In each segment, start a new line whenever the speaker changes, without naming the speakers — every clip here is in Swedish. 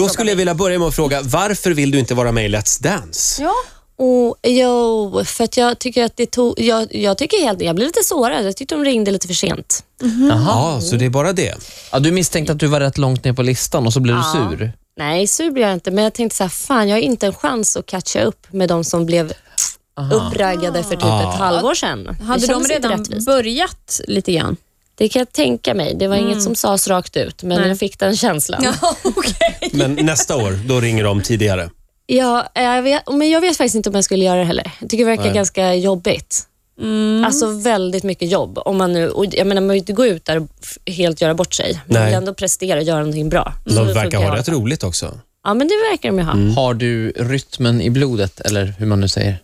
Då skulle jag vilja börja med att fråga, varför vill du inte vara med i Let's Dance?
Ja.
Och, jo, för att jag tycker att det tog... Jag, jag tycker helt... Jag blev lite sårad. Jag tyckte de ringde lite för sent.
Jaha.
Mm.
Ja, så det är bara det.
Ja, du misstänkte att du var rätt långt ner på listan och så blev
Ja.
du sur.
Nej, sur blev jag inte, men jag tänkte så här, fan jag har inte en chans att catcha upp med de som blev uppraggade för typ
Ah.
ett halvår sedan.
Hade
det
de
kändes inte
redan
rättvist.
börjat lite grann? Mm.
Det kan jag tänka mig. Det var inget som sades rakt ut, men
Nej.
jag fick den känslan. Ja.
okej.
Men nästa år, då ringer de tidigare.
jag vet, men jag vet faktiskt inte om jag skulle göra det heller. Jag tycker det verkar
Nej.
ganska jobbigt. Alltså väldigt mycket jobb. Om man nu, och jag menar, man vill inte gå ut där och f- helt göra bort sig. Man
Nej.
vill ändå prestera och göra någonting bra.
De
Så det
verkar
funkar
ha
jag.
rätt Mm. roligt också.
Ja, men det verkar de ju ha.
Mm. Har du rytmen i blodet, eller hur man nu säger?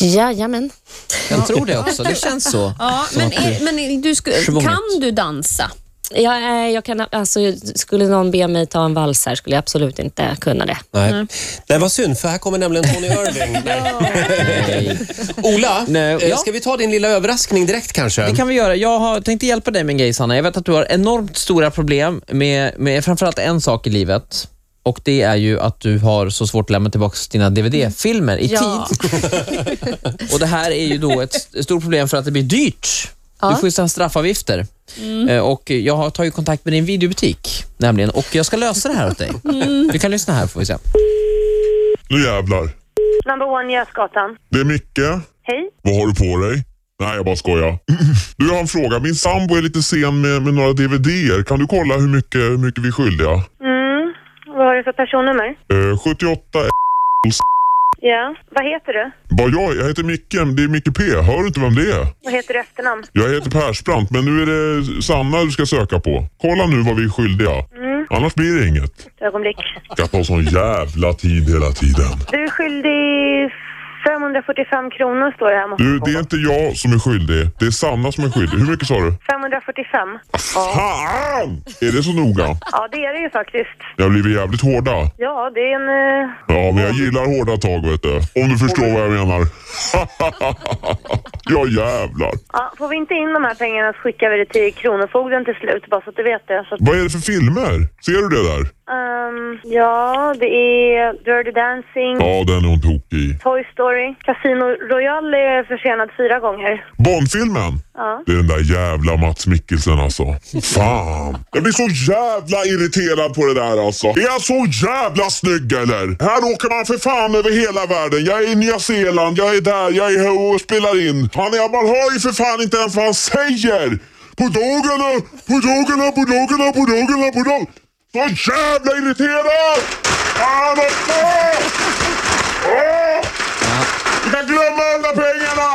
Jajamän.
Jag tror det också. Det känns så.
Ja,
Som
men
att du-
är, men är- du sku,
Schwunget.
kan du dansa?
Ja, eh, jag kan, alltså, skulle någon be mig ta en vals här skulle jag absolut inte kunna det.
Nej. Nej, vad synd, för här kommer nämligen Tony Irving. Ola,
Nej,
eh,
ja.
ska vi ta din lilla överraskning direkt kanske?
Det kan vi göra. Jag har, tänkte hjälpa dig med en grej, Sanna. Jag vet att du har enormt stora problem med, med framförallt en sak i livet. Och Det är ju att du har så svårt att lämna tillbaka dina DVD-filmer i
Ja.
tid. och Det här är ju då ett st- stort problem för att det blir dyrt. Du får ju så här straffavgifter.
Mm.
Eh, Och jag har tagit kontakt med din videobutik nämligen och jag ska lösa det här åt dig.
Mm.
Du kan lyssna här får vi se.
Nu jävlar.
Number one, Gösgatan.
Det är Micke.
Hej.
Vad har du på dig? Nej, jag bara skojar. Du, jag har en fråga. Min sambo är lite sen med, med några DVDer. Kan du kolla hur mycket, hur mycket vi är skyldiga?
Mm. Vad har du för personnummer?
Eh, 78
Ja. Vad heter du?
Vad jag, jag heter Micke. Det är Micke P. Hör du inte vem det är?
Vad heter du efternamn?
Jag heter Persbrandt, men nu är det Sanna du ska söka på. Kolla nu vad vi är skyldiga. Annars blir det inget.
Ett ögonblick.
Det tar sån jävla tid hela tiden.
Du är skyldig 545 kronor står det här. måste
Du,
jag
det är
få.
inte jag som är skyldig. Det är Sanna som är skyldig. Hur mycket sa du?
545.
Fan! Är det så noga?
Ja, det är det ju faktiskt.
Ni har blivit jävligt hårda.
Ja, det är en... eh,
Ja, men jag gillar hårda tag vet du. Om du förstår vad jag menar. ja jävlar.
Ja, får vi inte in de här pengarna så skickar vi det till Kronofogden till slut, bara så att du vet det. Så att,
Vad är det för filmer? Ser du det där?
ehm, ja, det är Dirty Dancing,
Ja, den är hon tokig i.
Toy Story, Casino Royale är försenad fyra gånger.
Bondfilmen?
Ja.
Det är den där jävla Mats Mikkelsen alltså. Fan. Jag blir så jävla irriterad på det där alltså. Är jag så jävla snygg eller? Här åker man för fan över hela världen. Jag är i Nya Zeeland, jag är där, jag är här och spelar in. Han är, man hör ju för fan inte ens vad han säger. På dagarna, på dagarna, på dagarna, på dagarna, på dagarna. Så jävla irriterad! Fan också! Åh! Du kan glömma alla pengarna!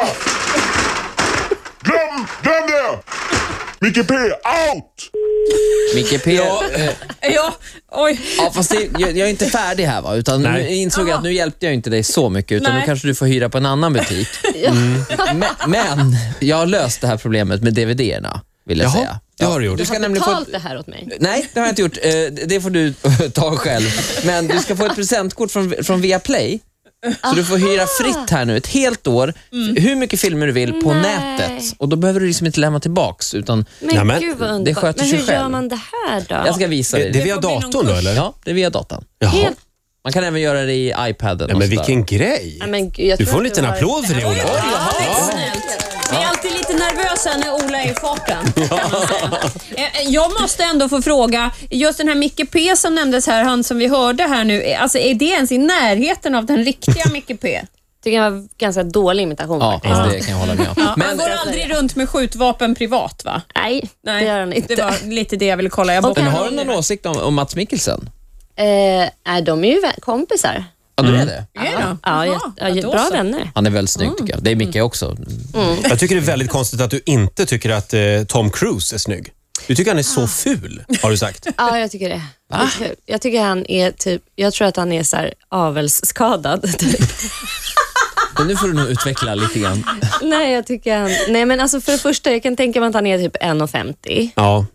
Glöm, glöm det! Micke P, out!
Micke P. Ja.
Ja, oj.
fast det, jag, jag är inte färdig här va, utan nu
Nej.
insåg jag att nu hjälpte jag inte dig så mycket utan
Nej.
nu kanske du får hyra på en annan butik. Mm. Men, men jag har löst det här problemet med DVD-erna, vill jag
Jaha,
säga.
det har du gjort.
Du ska nämligen få
Betalt
ett,
det här åt mig.
nej, det har jag inte gjort. Eh, Det får du ta själv. Men du ska få ett presentkort från, från Viaplay. Så du får hyra fritt här nu ett helt år, hur mycket filmer du vill, på
Nej.
nätet. Och Då behöver du liksom inte lämna tillbaks, utan
Men
Nämen,
gud vad
det
underbart.
sköter
Men
sig
hur gör
själv.
man det här då?
jag ska visa
Det,
dig.
det är via
får bli någon
datorn då
kurs.
eller?
Ja, det är via datan.
Jaha.
Helt...
Man kan även göra det i iPaden.
Nej,
och
men
sådär.
vilken grej.
Nej, men gud, jag
Du
tror
får en
att det
liten
var-
applåd för det Ola.
Vi är alltid lite nervösa när Ola är i farten. kan man säga. Eh, eh, Jag måste ändå få fråga, just den här Micke P som nämndes här, han som vi hörde här nu, eh, alltså är det ens i närheten av den riktiga Micke P?
tycker jag var ganska dålig imitation
Ja,
faktiskt.
det kan jag hålla med om.
Han
Alltså,
Men
går aldrig runt med skjutvapen privat va?
Nej, det gör han inte.
Det var lite det jag ville kolla. Jag bara,
men har du någon åsikt om, om Mats Mikkelsen?
Eh, nej, de är ju vä- kompisar.
Ja, du
Mm.
är det?
Är det då?
Ja,
Jaha,
jätte- ja,
då
bra
så.
vänner.
Han är väldigt snygg tycker jag. Det är
Mm.
Micke också.
Jag tycker det är väldigt konstigt att du inte tycker att eh, Tom Cruise är snygg. Du tycker han är så
Ah.
ful, har du sagt.
Ja, jag tycker det. Det är kul. Jag tycker han är typ, jag tror att han är så här avelsskadad. typ.
Men nu får du nog utveckla lite grann.
nej, jag tycker han, nej men alltså för det första, jag kan tänka mig att han är typ 1,50.
Ja.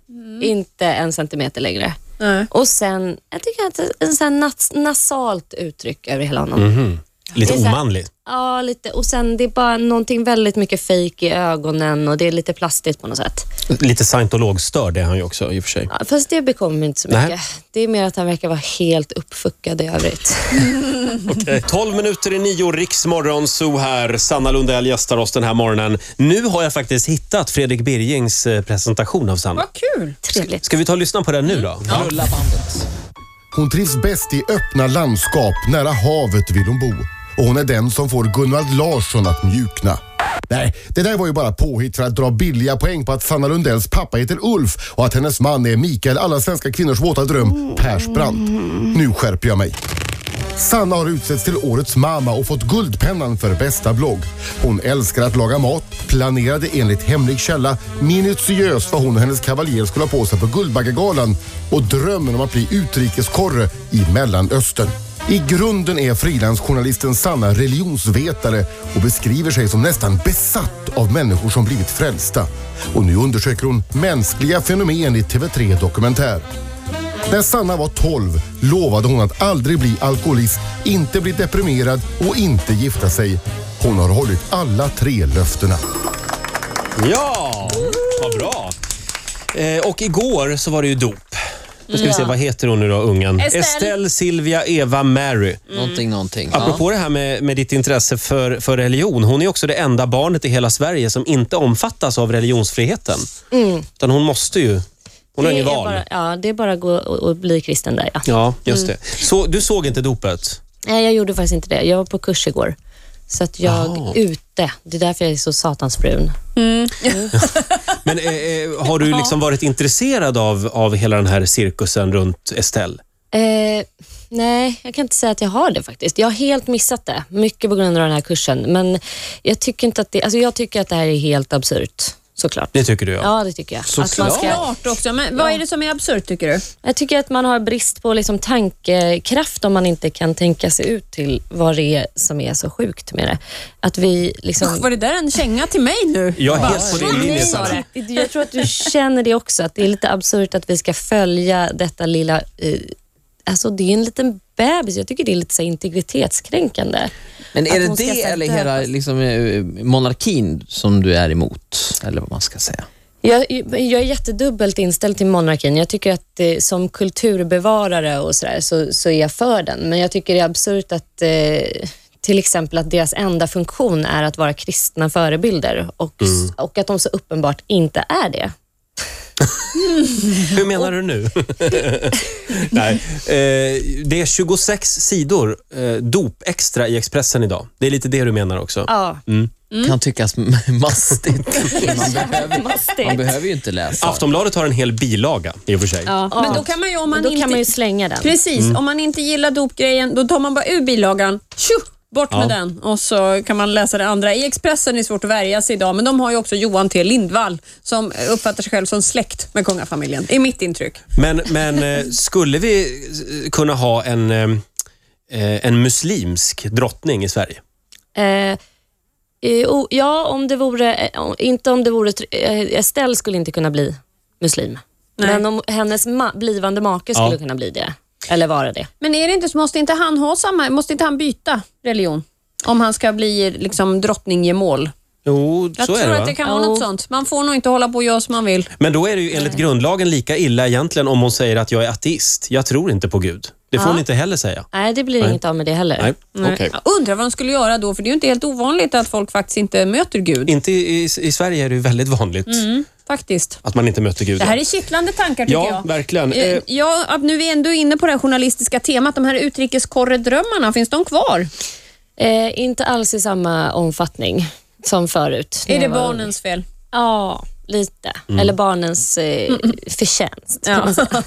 Inte en centimeter längre.
Mm. Nej.
Och sen, jag tycker att en sån här nas- nasalt uttryck över hela honom.
Lite
Det är så här-
omanlig.
Ja, lite. Och sen det är bara någonting väldigt mycket fake i ögonen och det är lite plastigt på något sätt.
Lite scientologstörd är han ju också i och för sig.
Ja, fast det bekommer inte så
Nej.
mycket. Det är mer att han verkar vara helt uppfuckad i övrigt.
Eh, 12 minuter i nio, Riksmorgon Zoo här. Sanna Lundell gästar oss den här morgonen. Nu har jag faktiskt hittat Fredrik Birgings eh, presentation av Sanna.
Vad kul!
Trevligt.
Ska vi ta och lyssna på den nu då?
Rulla bandet.
Hon trivs bäst i öppna landskap, nära havet vill hon bo. Och hon är den som får Gunnar Larsson att mjukna. Nej, det där var ju bara påhitt för att dra billiga poäng på att Sanna Lundells pappa heter Ulf och att hennes man är Mikael, alla svenska kvinnors våta dröm, Persbrandt. Nu skärper jag mig. Sanna har utsetts till Årets mamma och fått Guldpennan för bästa blogg. Hon älskar att laga mat, planerade enligt hemlig källa minutiöst vad hon och hennes kavaljer skulle ha på sig på Guldbaggegalan och drömmen om att bli utrikeskorre i Mellanöstern. I grunden är frilansjournalisten Sanna religionsvetare och beskriver sig som nästan besatt av människor som blivit frälsta. Och nu undersöker hon mänskliga fenomen i TV3 Dokumentär. När Sanna var 12 lovade hon att aldrig bli alkoholist, inte bli deprimerad och inte gifta sig. Hon har hållit alla tre löftena.
Ja, vad bra. Eh, och igår så var det ju dop. Nu ska vi se, vad heter hon nu då, ungen?
Estelle.
Estelle Silvia Eva Mary.
Någonting, någonting.
Apropå det här med, med ditt intresse för, för religion. Hon är också det enda barnet i hela Sverige som inte omfattas av religionsfriheten. Utan hon måste ju. Hon har
Mm. Det
inget
är
val.
Bara, Mm. ja, det är bara att gå och, och bli kristen där. Ja.
Ja, just det. Så du såg inte dopet?
Nej, jag gjorde faktiskt inte det. Jag var på kurs igår. Så att jag
Jaha.
ute. Det är därför jag är så satansbrun.
Men eh, eh, har du liksom varit intresserad av, av hela den här cirkusen runt Estelle?
Eh, nej, jag kan inte säga att jag har det faktiskt. Jag har helt missat det. Mycket på grund av den här kursen. Men jag tycker inte att det, alltså jag tycker att det här är helt absurt. Såklart.
Det tycker du ja.
Ja, det tycker jag. Att man ska,
Klart också, men vad är det som är absurt tycker du?
jag tycker att man har brist på liksom tankekraft om man inte kan tänka sig ut till vad det är som är så sjukt med det. Att vi liksom...
Var det där en känga till mig nu?
Jag är helt på din
Ja,
linje
nej,
Sanna.
var det.
Det- Jag tror att du känner det också, att det är lite absurt att vi ska följa detta lilla... Eh, alltså det är en liten bebis. Jag tycker det är lite så här integritetskränkande.
Men
Att
är det
hon ska
det
sätta-
eller hela liksom, eh, monarkin som du är emot? Eller vad man ska säga.
Jag, jag är jättedubbelt inställd till monarkin. Jag tycker att eh, som kulturbevarare och så, där, så, så är jag för den. Men jag tycker det är absurt att eh, till exempel att deras enda funktion är att vara kristna förebilder och, och att de så uppenbart inte är det.
Hur menar du nu? Nej, eh, det är 26 sidor eh, dop extra i Expressen idag. Det är lite det du menar också.
Ja, Mm.
Kan tyckas m- mastigt. man, behöver, man behöver ju inte läsa.
Aftonbladet har en hel bilaga i och för sig.
Men då kan man ju om man
då
inte...
kan man ju slänga den.
Precis,
Mm.
om man inte gillar dopgrejen då tar man bara ur bilagan. Tju! Bort med den och så kan man läsa det andra. I Expressen är det svårt att värja sig idag, men de har ju också Johan T Lindvall som uppfattar sig själv som släkt med kungafamiljen. Det är mitt intryck.
Men, men eh, skulle vi eh, kunna ha en, eh, eh, en muslimsk drottning i Sverige?
Eh, eh, o- ja, om det vore, eh, o- inte om det vore, tr- eh, Estelle skulle inte kunna bli muslim. Men om hennes ma- blivande make skulle
Ja.
kunna bli det, eller vara det.
Men är det inte så måste inte han ha samma, måste inte han byta religion? Om han ska bli liksom drottninggemål.
Jo,
Jag
så är
tror
det,
att
va?
det kan vara något sånt. Man får nog inte hålla på och göra som man vill.
Men då är det ju enligt grundlagen lika illa egentligen om hon säger att jag är ateist. Jag tror inte på Gud. Det får hon inte heller säga.
Nej, det blir inget av med det heller.
Nej, okej.
Mm. Jag undrar vad de skulle göra då, för det är ju inte helt ovanligt att folk faktiskt inte möter Gud.
Inte i, i, i Sverige är det ju väldigt vanligt
Faktiskt.
att man inte möter Gud.
Mm. Det här är kittlande tankar tycker
Ja,
jag.
verkligen.
Eh,
Eh,
Ja, att nu är vi ändå inne på det här journalistiska temat. De här utrikeskorredrömmarna, finns de kvar?
Eh, inte alls i samma omfattning som förut.
Är
när
det
jag var ung.
barnens fel?
Ja, lite. Eller barnens eh, förtjänst.
Mm. Ja.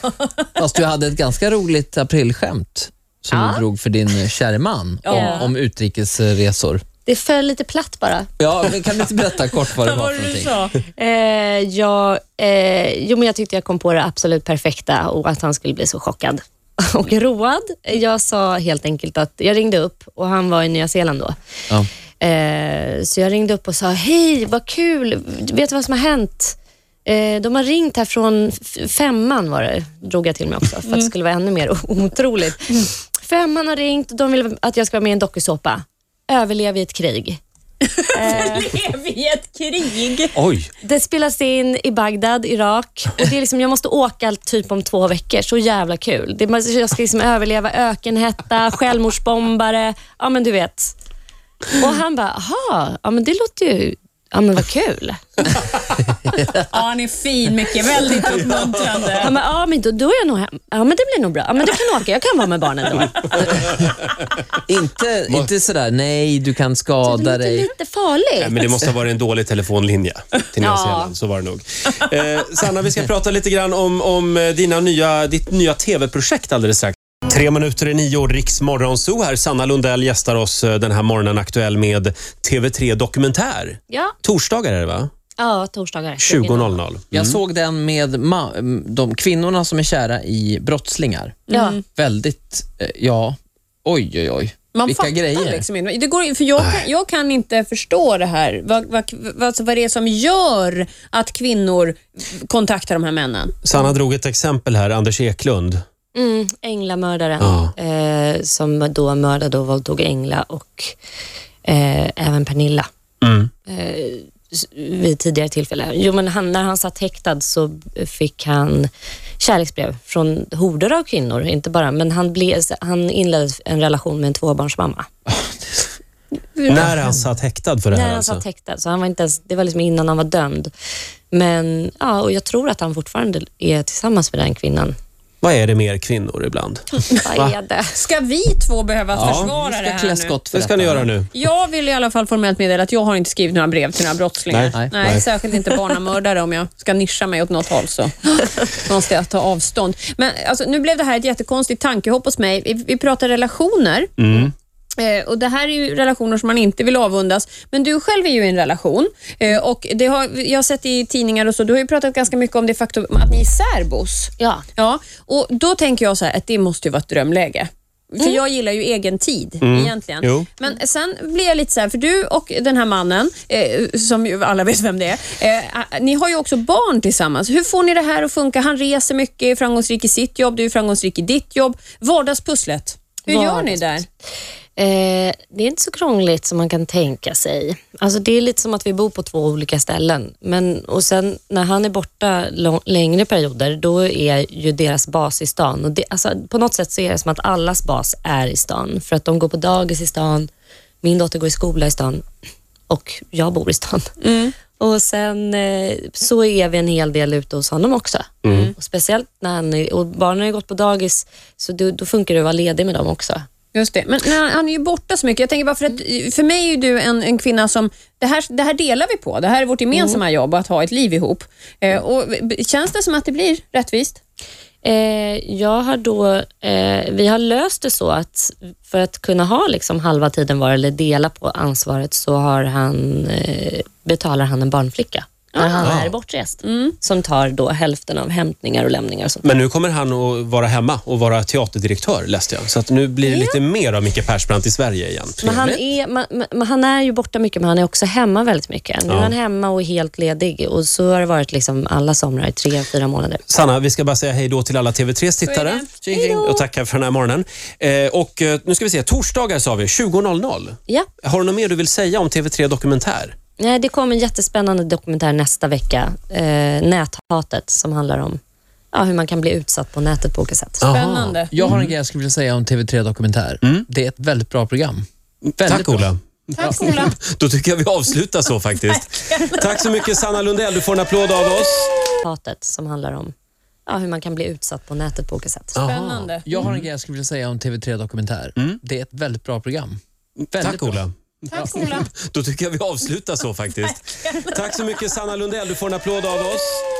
Fast du hade ett ganska roligt aprilskämt som du drog för din eh, käre man om, om utrikesresor.
Det föll lite platt bara.
Ja, men kan du inte berätta kort vad det var för någonting?
Eh, jag, eh, jo, men jag tyckte jag kom på det absolut perfekta och att han skulle bli så chockad och road. Jag sa helt enkelt att jag ringde upp och han var i Nya Zeeland då.
Ja.
Eh, så jag ringde upp och sa, hej vad kul, vet du vad som har hänt? Eh, de har ringt här från f- femman var det, drog jag till mig också, för att det skulle vara ännu mer otroligt. Femman har ringt och de vill att jag ska vara med i en dokusåpa. Överlev i ett krig.
Lev i ett krig.
Oj!
Det spelas in i Bagdad, Irak. Och det är liksom, jag måste åka typ om två veckor. Så jävla kul. Det är, jag ska liksom överleva ökenhetta, självmordsbombare. Ja, men du vet. Och han bara, aha, ja, men det låter ju... Ja, men vad kul.
Ja, han är fin mycket. Väldigt uppmuntrande.
Han bara, ja, men då, då är jag nog hem. Ja, men det blir nog bra. Ja, men du kan åka. Jag kan vara med barnen då.
Inte, inte sådär, nej du kan
Det
skada
låter
dig.
Typ lite farligt.
Nej, Eh, men det måste ha varit en dålig telefonlinje till Nya
Ja.
Zeeland. Så var det nog. Eh, Sanna, vi ska prata lite grann om, om eh, dina nya, ditt nya tv-projekt alldeles strax. Tre minuter i nio, Riks Morgonzoo här. Sanna Lundell gästar oss eh, den här morgonen, aktuell med TV3 Dokumentär.
Ja,
Torsdagar är det, va?
ja torsdagar.
20.00.
Jag såg den med ma- de kvinnorna som är kära i brottslingar.
Ja.
Väldigt, eh, ja, oj oj oj.
Man
Vilka
fattar
grejer.
liksom inte. Det går, för jag, kan, jag kan inte förstå det här. Vad, vad, vad, alltså vad det är som gör att kvinnor kontaktar de här männen.
Sanna drog ett exempel här, Anders Eklund.
Mm, änglamördaren
Ja.
eh, som då mördade och våldtog Engla och eh, även Pernilla
Mm.
eh, s- vid tidigare tillfälle. Jo, men han, när han satt häktad så fick han kärleksbrev från horder av kvinnor, inte bara, men han, ble, han inledde en relation med en tvåbarnsmamma.
När han satt häktad för det
När
här
han
alltså.
satt häktad, så han var inte ens, det var liksom innan han var dömd. Men ja, och jag tror att han fortfarande är tillsammans med den kvinnan.
Vad är det mer kvinnor ibland?
Vad är det?
Ska vi två behöva försvara det
Vi ska
här nu?
klä skott för
Det ska
detta.
ni göra nu.
Jag vill i alla fall formellt meddela att jag har inte skrivit några brev till några brottslingar.
Nej,
nej,
nej.
Särskilt inte barnamördare om jag ska nischa mig åt något håll så måste jag ta avstånd. Men alltså, nu blev det här ett jättekonstigt tankehopp hos mig. Vi, vi pratar relationer.
Mm.
Eh, Och Det här är ju relationer som man inte vill avundas, men du själv är ju i en relation. Eh, Och det har, jag har sett i tidningar och så, du har ju pratat ganska mycket om det faktum att ni är särbos.
Ja.
Ja, och då tänker jag så här att det måste ju vara ett drömläge. För jag gillar ju egen tid egentligen.
Jo.
Men sen blir jag lite så här, för du och den här mannen, eh, som ju alla vet vem det är, eh, ni har ju också barn tillsammans. Hur får ni det här att funka? Han reser mycket, är framgångsrik i sitt jobb, du är framgångsrik i ditt jobb. Vardagspusslet, hur gör ni där?
Eh, det är inte så krångligt som man kan tänka sig. Alltså det är lite som att vi bor på två olika ställen. Men, och sen när han är borta lång, längre perioder, då är ju deras bas i stan. Och det, alltså, på något sätt så är det som att allas bas är i stan. För att de går på dagis i stan, min dotter går i skola i stan och jag bor i stan. Och sen eh, så är vi en hel del ute hos honom också. Och speciellt när han är, och barnen har ju gått på dagis, så då, då funkar det att vara ledig med dem också.
Just det, men nej, han är ju borta så mycket. Jag tänker bara för att för mig är ju du en, en kvinna som, det här, det här delar vi på. Det här är vårt gemensamma jobb, att ha ett liv ihop. Eh, och, b- känns det som att det blir rättvist?
Eh, jag har då, eh, vi har löst det så att för att kunna ha liksom halva tiden var eller dela på ansvaret så har han, eh, betalar han en barnflicka när han är bortrest som tar då hälften av hämtningar och lämningar och sånt.
Men nu kommer han att vara hemma och vara teaterdirektör läste jag. Så att nu blir det lite mer av Micke Persbrandt i Sverige igen.
Men han, är, man, man- men han är ju borta mycket, men han är också hemma väldigt mycket. Nu är han hemma och är helt ledig och så har det varit liksom alla somrar i tre, fyra månader.
Sanna, vi ska bara säga hej då till alla TV3s tittare.
Tjing, tjing.
Och tacka för den här morgonen. Eh, och eh, nu ska vi se, torsdagar sa vi, 20.00.
Ja.
Har du något mer du vill säga om TV3 Dokumentär?
Nej, det kommer en jättespännande dokumentär nästa vecka, eh, Näthatet, som handlar om ja, hur man kan bli utsatt på nätet på olika sätt.
Spännande.
Jag har en grej jag skulle vilja säga om TV3 Dokumentär.
Mm.
Det är ett väldigt bra program. Väldigt
Tack
bra.
Ola.
Tack Ola.
Då tycker jag vi avslutar så faktiskt. Tack så mycket Sanna Lundell, du får en applåd av oss.
Hatet, som handlar om ja, hur man kan bli utsatt på nätet på olika sätt.
Spännande.
Jag
Mm.
har en grej jag skulle vilja säga om TV3 Dokumentär. Det är ett väldigt bra program. Väldigt
Tack
bra.
Ola.
Tack Ola.
Då tycker jag vi avslutar så faktiskt. Tack så mycket Sanna Lundell, du får en applåd av oss.